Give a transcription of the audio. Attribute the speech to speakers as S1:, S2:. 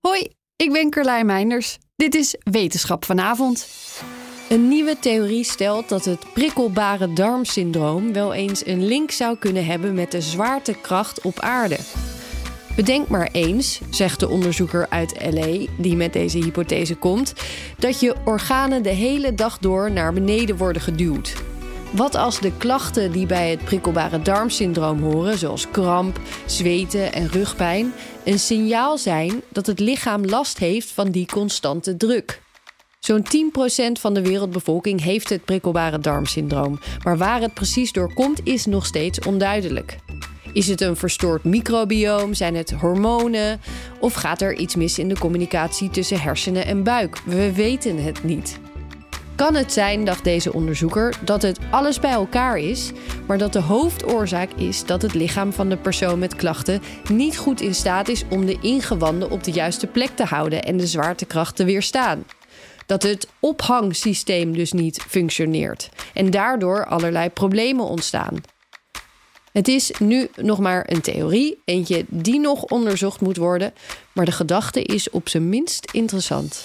S1: Hoi, ik ben Carlijn Meinders. Dit is Wetenschap vanavond. Een nieuwe theorie stelt dat het prikkelbare darmsyndroom wel eens een link zou kunnen hebben met de zwaartekracht op aarde. Bedenk maar eens, zegt de onderzoeker uit LA die met deze hypothese komt, dat je organen de hele dag door naar beneden worden geduwd. Wat als de klachten die bij het prikkelbare darmsyndroom horen, zoals kramp, zweten en rugpijn, een signaal zijn dat het lichaam last heeft van die constante druk? Zo'n 10% van de wereldbevolking heeft het prikkelbare darmsyndroom, maar waar het precies door komt is nog steeds onduidelijk. Is het een verstoord microbioom? Zijn het hormonen? Of gaat er iets mis in de communicatie tussen hersenen en buik? We weten het niet. Kan het zijn, dacht deze onderzoeker, dat het alles bij elkaar is, maar dat de hoofdoorzaak is dat het lichaam van de persoon met klachten niet goed in staat is om de ingewanden op de juiste plek te houden en de zwaartekracht te weerstaan? Dat het ophangsysteem dus niet functioneert en daardoor allerlei problemen ontstaan. Het is nu nog maar een theorie, eentje die nog onderzocht moet worden, maar de gedachte is op zijn minst interessant.